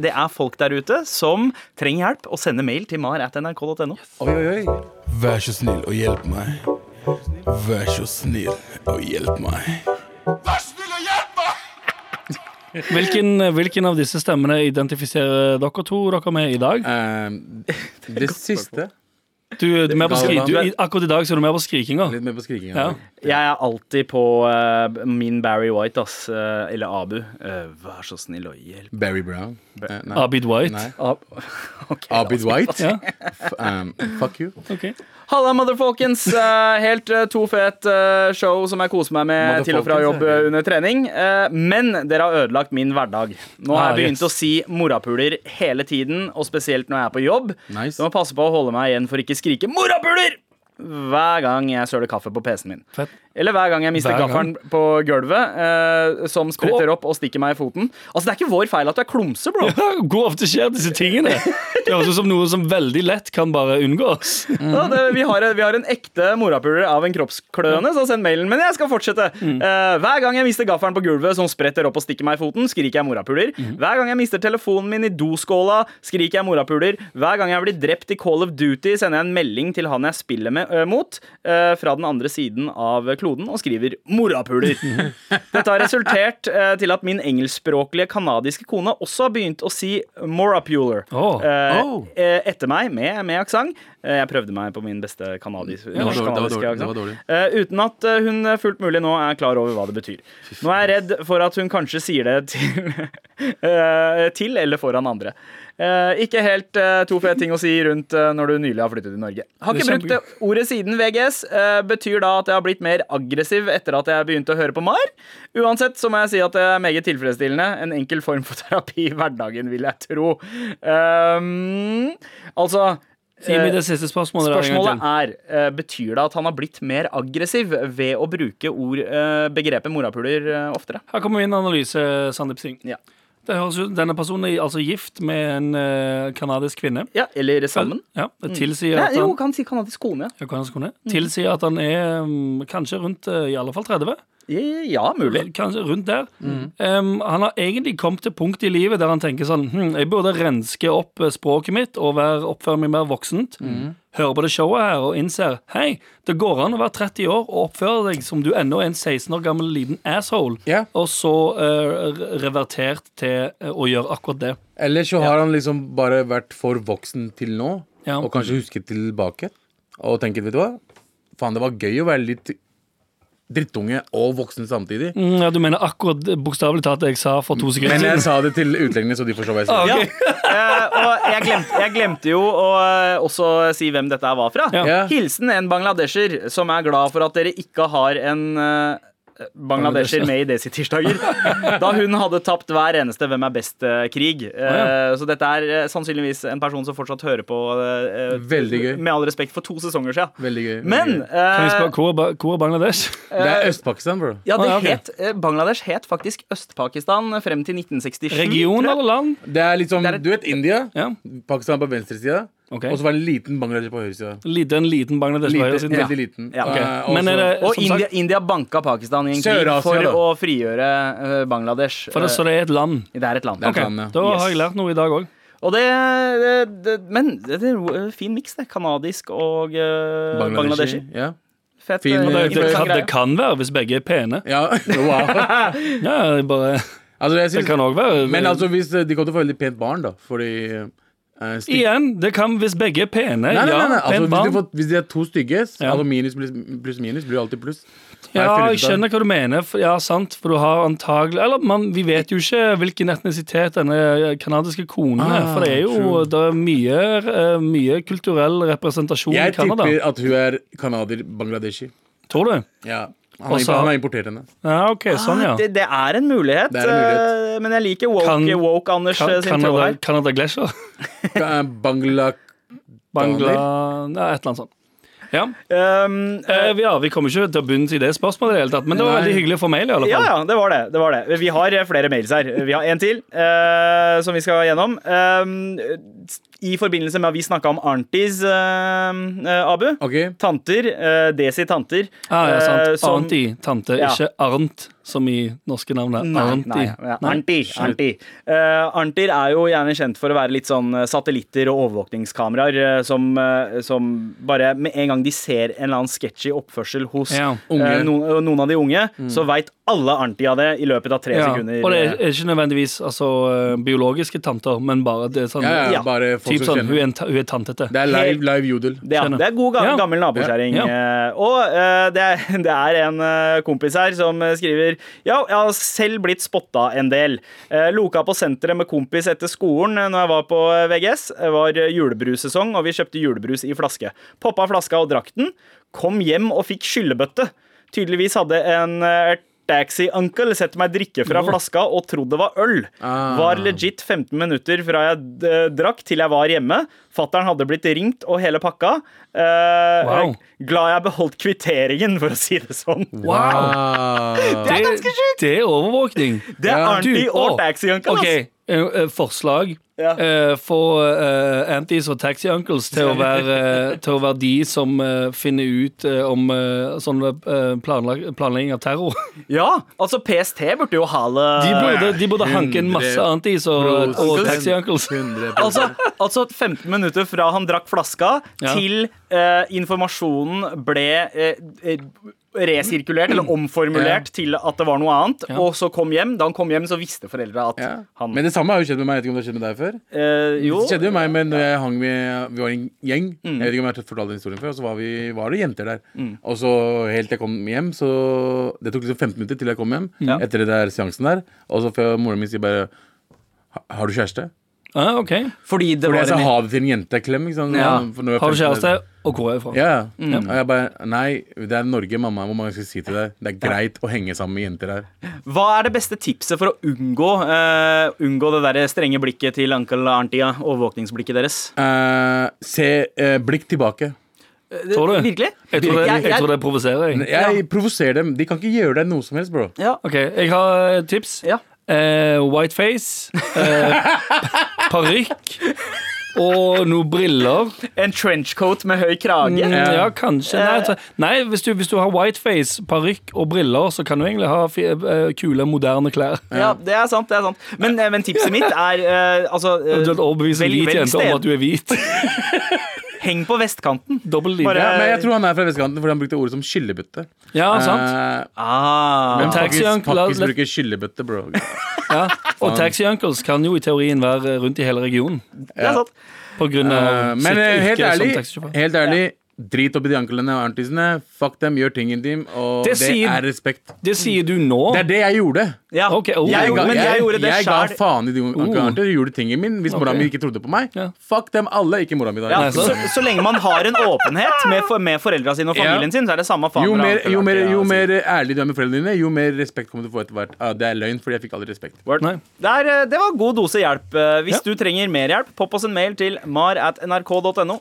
det er folk der ute som trenger hjelp, og sender mail til mar.nrk.no. Oi, oi, oi. Vær så snill og hjelp meg. Vær så snill og hjelp meg. Hvilken, hvilken av disse stemmene identifiserer dere to dere med i dag? Ehm, det siste. Du, du, er mer på skri, Galvan. du, i- akkurat i dag så er du mer på skrikinga. Litt mer på skrikinga. Ja. Jeg er alltid på eh, min Barry White, ass. eh, eller Abu. Eh, vær så snill og hjelp. Barry Brown. Eh, nei. Abid White. Nei. Ab Ok, da. Abid White. Ja, F- ehm, fuck you. ok Halla, motherfolkens. Eh, Helt eh, to fet eh, show som jeg koser meg med til og fra jobb Motherfolkens, ja. eh, under trening. Eh, Men dere har ødelagt min hverdag. Nå har Ah, jeg begynt yes. å si morapuler hele tiden, og spesielt når jeg er på jobb. Nice. Så må jeg passe på å holde meg igjen for ikke skrike 'morapuler' hver gang jeg søler kaffe på PC-en min. Fett. Eller hver gang jeg mister Hver gang. gaffelen på gulvet, eh, som spretter opp og stikker meg i foten. Altså, Det er ikke vår feil at du er klumse, bro. Hvor ofte skjer disse tingene? Det høres ut som noe som veldig lett kan bare unngås. Ja, det, vi, har, vi har en ekte morapuler av en kroppskløne, så send mailen. Men jeg skal fortsette. Eh, hver gang jeg mister gaffelen på gulvet, som spretter opp og stikker meg i foten, skriker jeg morapuler. Hver gang jeg mister telefonen min i doskåla, skriker jeg morapuler. Hver gang jeg blir drept i Call of Duty, sender jeg en melding til han jeg spiller med, ø, mot eh, fra den andre siden av kloden og skriver 'morapuler'. Dette har resultert eh, til at min engelskspråklige kanadiske kone også har begynt å si 'morapuler'. Åh. Eh, Oh. eh, etter meg med, med aksent. Eh, jeg prøvde meg på min beste kanadis, var norsk dårlig, det var kanadiske dårlig, aksent. det var dårlig. Eh, uten at eh, hun fullt mulig nå er klar over hva det betyr. Nå er jeg redd for at hun kanskje sier det til, eh, til eller foran andre. Eh, ikke helt eh, to fete ting å si rundt eh, når du nylig har flyttet til Norge. Har Det ikke er brukt det ordet siden VGS. eh, betyr da at jeg har blitt mer aggressiv etter at jeg begynte å høre på MAR. Uansett så må jeg si at det er meget tilfredsstillende. En enkel form for terapi i hverdagen, vil jeg tro. Um, altså Gi meg eh, det siste spørsmålet. der en gang Spørsmålet er, eh, Betyr det at han har blitt mer aggressiv ved å bruke ord, eh, begrepet morapuler eh, oftere? til. Her kommer min analyse, Sandeep Singh. Ja. Det høres ut, denne personen er altså gift med en eh, kanadisk kvinne. Ja, Eller sammen? Ja, det tilsier Mm. Nei, at jo, han, kan si kanadisk kone. Ja, hva han skulle. tilsier at han er mm, kanskje rundt eh, i alle fall 30. Ja, mulig. Kanskje rundt der. Um, han har egentlig kommet til punkt i livet der han tenker sånn hm, Jeg burde renske opp eh, språket mitt og være oppføre meg mer voksent. Hører på det showet her og innser Hei, det går an å være 30 år og oppføre deg som du ennå er en 16 år gammel liten asshole. Ja. Og så eh, re- revertert til eh, å gjøre akkurat det. Eller så har han liksom bare vært for voksen til nå, Ja. og kanskje husket tilbake. Og tenker, vet du hva? Faen, det var gøy å være litt drittunge og voksen samtidig. Mm, ja, du mener akkurat eh, bokstavelig talt det jeg sa for to sekunder Men jeg siden? Ah, sa det til utlendingene, så de forstår hva jeg sier. Ja. Eh, og jeg glemte, jeg glemte jo å eh, også si hvem dette her var fra. Ja. Ja. Hilsen en bangladesher som er glad for at dere ikke har en eh, Bangladesher med i Desi-tirsdager. Da hun hadde tapt hver eneste Hvem er best-krig. Eh, Så dette er eh, sannsynligvis en person som fortsatt hører på eh, Veldig gøy. med all respekt for to sesonger siden. Veldig gøy. veldig Men gøy. Kan jeg eh, spørre, hvor er Ba- hvor er Bangladesh? Det er Øst-Pakistan, bro. ja, det Ah, ja, ok. het, eh, Bangladesh het faktisk Øst-Pakistan frem til 1967. Region tror jeg. eller land? Det er litt som, Det er et- du vet, India. Ja. Pakistan på venstresida, Ok. og så var det en liten Bangladesh på høyresida. Liten, liten Bangladesh. på høyre Liten, siden. Ja. Veldig liten. Ja, ok. Eh, Men så- er det, Og som India, sagt, India banka Pakistan i en krig Sør-Asia, for da. å frigjøre eh, Bangladesh. for det, så det er et land. Eh, det er et land. Det er et Ok, land, ja. Da Yes. har jeg lært noe i dag òg. Og det, det, det, men det er jo en fin miks, det. Kanadisk og eh, Bangladeshi. bangladeshi. Ja. Fett. eh, Fin, eh, Det, Det- interessant kan- greie. det kan være hvis begge er pene. ja. Wow. Ja, det, er bare, Altså, jeg det synes, kan òg være men altså, hvis eh, de kommer til å få veldig pent barn, da, fordi eh, stygge- Igjen, det kan hvis begge er pene. Nei, nei, ja, nei, nei. Altså, pent hvis, de barn. får, hvis de er to stygge, s- Ja. altså minus pluss pluss minus blir alltid pluss. Nei, Ja, finner ut jeg av skjønner hva du mener. For, ja, sant, for du har antagelig Eller man, vi vet jo ikke hvilken etnisitet denne eh, kanadiske konen er. Ah, For det er jo true. det er mye, eh, mye kulturell representasjon det. i Jeg Canada. tipper at hun er canadier bangladeshi. Tror du? Ja. Han, Og så- har- han har importert henne. Ja, OK, sånn, ja. Ah, det, det er en mulighet, Det er en mulighet. eh, men jeg liker woke, Kan- woke Anders eh, sin tråd Canada, her. Canada Glacier? Ka- eh, Bangla... Bangla Nei, et eller annet sånt. Ja. Um, eh, Eh, vi- ja, vi kommer ikke til å bunne i det spørsmålet, i det hele tatt men det var Nei. veldig hyggelig for mail. i alle ja, fall ja, det var det, det var det. Vi har eh, flere mails her. Vi har en til eh, som vi skal gjennom. Um, I forbindelse med at vi snakka om aunties, eh, eh, Abu. Ok, Tanter. eh, Desi tanter. Ah, ja, sant. eh, som- Auntie, tante, Ja. ikke Arnt. som i norske navn er Nei, Arnti. nei, ja, Arnti. Arnti. Eh, Arntir er jo gjerne kjent for å være litt sånn eh, satellitter og overvåkningskameraer eh, som, eh, som bare med en gang de ser en eller annen sketchy oppførsel hos Ja. Mm. eh, Unge. noen, noen av de unge, så veit alle Arnti av det i løpet av tre Ja, sekunder. eh, Og det er, er ikke nødvendigvis altså, eh, biologiske tanter, men bare det er sånn, Ja, ja, Ja. bare folk typ som sånn hun, kjenner. er en ta, hun er tantete. Det er live, live jodel. Det, ja, Skjønner. det er god gammel, Ja. gammel nabokjerring. Ja. Eh, Og eh, det, er, det er en eh, kompis her som eh, skriver Ja, jeg har selv blitt spotta en del. Eh, Loka på senteret med kompis etter skolen eh, når jeg var på eh, VGS. Det var eh, julebrussesong, og vi kjøpte julebrus i flaske. Poppa flaska og drakk den. Kom hjem og fikk skyllebøtte. Tydeligvis hadde en eh, Taxi Uncle sett meg drikke fra flaska og trodd det var øl. Ah. Var legit 15 minutter fra jeg eh, drakk til jeg var hjemme. Fattern hadde blitt ringt og hele pakka. Eh, Wow. Glad jeg beholdt kvitteringen, for å si det sånn. Wow! Ah. Det er ganske sjukt! Det er overvåkning. Det er Ja. Arnti Du, og å, Taxi Uncle. ass. OK, eh, eh, forslag. Ja. eh, Få eh, Antis og Taxi Uncles til å være, eh, til å være de som eh, finner ut eh, om eh, sånn eh, planlag- planlegging av terror. Ja, altså PST burde jo ha det De burde, de burde hanke inn masse Hundre Antis og, og prosent. Taxi Uncles. 100 Altså, altså at 15 minutter fra han drakk flaska, Ja. til eh, informasjonen ble eh, eh, resirkulert eller omformulert til at det var noe annet, og så kom hjem. Da han kom hjem, så visste foreldra at ja. han Men det samme har jo skjedd med meg. Jeg vet ikke om det har skjedd med deg før. eh, Jo. Mm. Det skjedde jo meg, men når jeg hang med Vi var en gjeng. Jeg vet ikke om jeg har fortalt den historien før. Og så var, vi, var det jenter der. Og så helt til jeg kom hjem, så Det tok liksom 15 minutter til jeg kom hjem Ja. etter det der seansen der. Og så får moren min si bare «Ha- Har du kjæreste? Ah, ok. Fordi det Fordi var jeg sa en ha det til en jenteklem. Ikke sant? Sånn, Ja. For når jeg er Har du 15 kjæreste, og hvor er jeg fra? Ja. ja. Mm. Og jeg bare Nei, det er Norge, mamma. Hvor mange skal jeg si til deg? Det er greit å henge sammen med jenter her. Hva er det beste tipset for å unngå eh, Unngå det der strenge blikket til onkel Arntia? Overvåkningsblikket deres. Eh, se eh, blikk tilbake. Tror du? Virkelig? Jeg tror det, Jeg- jeg jeg- tror det provoserer. Jeg. Jeg provoserer dem. De kan ikke gjøre deg noe som helst, bro. Ja. Ok, jeg har et tips. ja. Eh, Whiteface. Eh, Parykk. Og noen briller. En trenchcoat med høy krage. Mm, ja, kanskje. Nei, altså- nei hvis, du, hvis du har whiteface, parykk og briller, så kan du egentlig ha fi, eh, kule, moderne klær. Ja, det er sant. det er sant Men, eh, men tipset mitt er eh, altså, eh, Eventuelt overbevise en velg- hvit velg jente sted. om at du er hvit. Heng på vestkanten. Dobbel linje. Bare- Ja, men jeg tror han er fra vestkanten fordi han brukte ordet som skyllebøtte. Ja, sant. Eh, Ah. men Taxi pakkis, Uncle, la- pakkis la- bruker skyllebøtte, bro. Ja. Og Taxi Uncles kan jo i teorien være rundt i hele regionen. Det er sant. På grunn Eh, av men eh, helt sitt yrke som ærlig, taxisjåfør. helt ærlig drit opp i de anklene og arntisene. Fuck dem, gjør tingen din. Og Det det, sier- er respekt. Det sier du nå. Det er det jeg gjorde. Ja. Ok, oh. jeg, gjorde- men jeg gjorde det jeg ga sjøl. faen i de anklene og arntisene. Gjorde tingen min hvis mora Ok. mi ikke trodde på meg. Ja. Fuck dem alle, ikke mora mi. da. Ja, Nei, så, sant. så lenge man har en åpenhet med, for, med foreldra sine og familien Ja. sin, så er det samme faen. Jo hva mer, onkel jo, mer, Arntia jo sier. mer ærlig du er med foreldrene dine, jo mer respekt kommer du til å få etter hvert. Ah, det er løgn, fordi jeg fikk aldri respekt. Word. Nei. Det, er, eh, det var god dose hjelp. Eh, Hvis Ja. du trenger mer hjelp, popp oss en mail til mar at nrk.no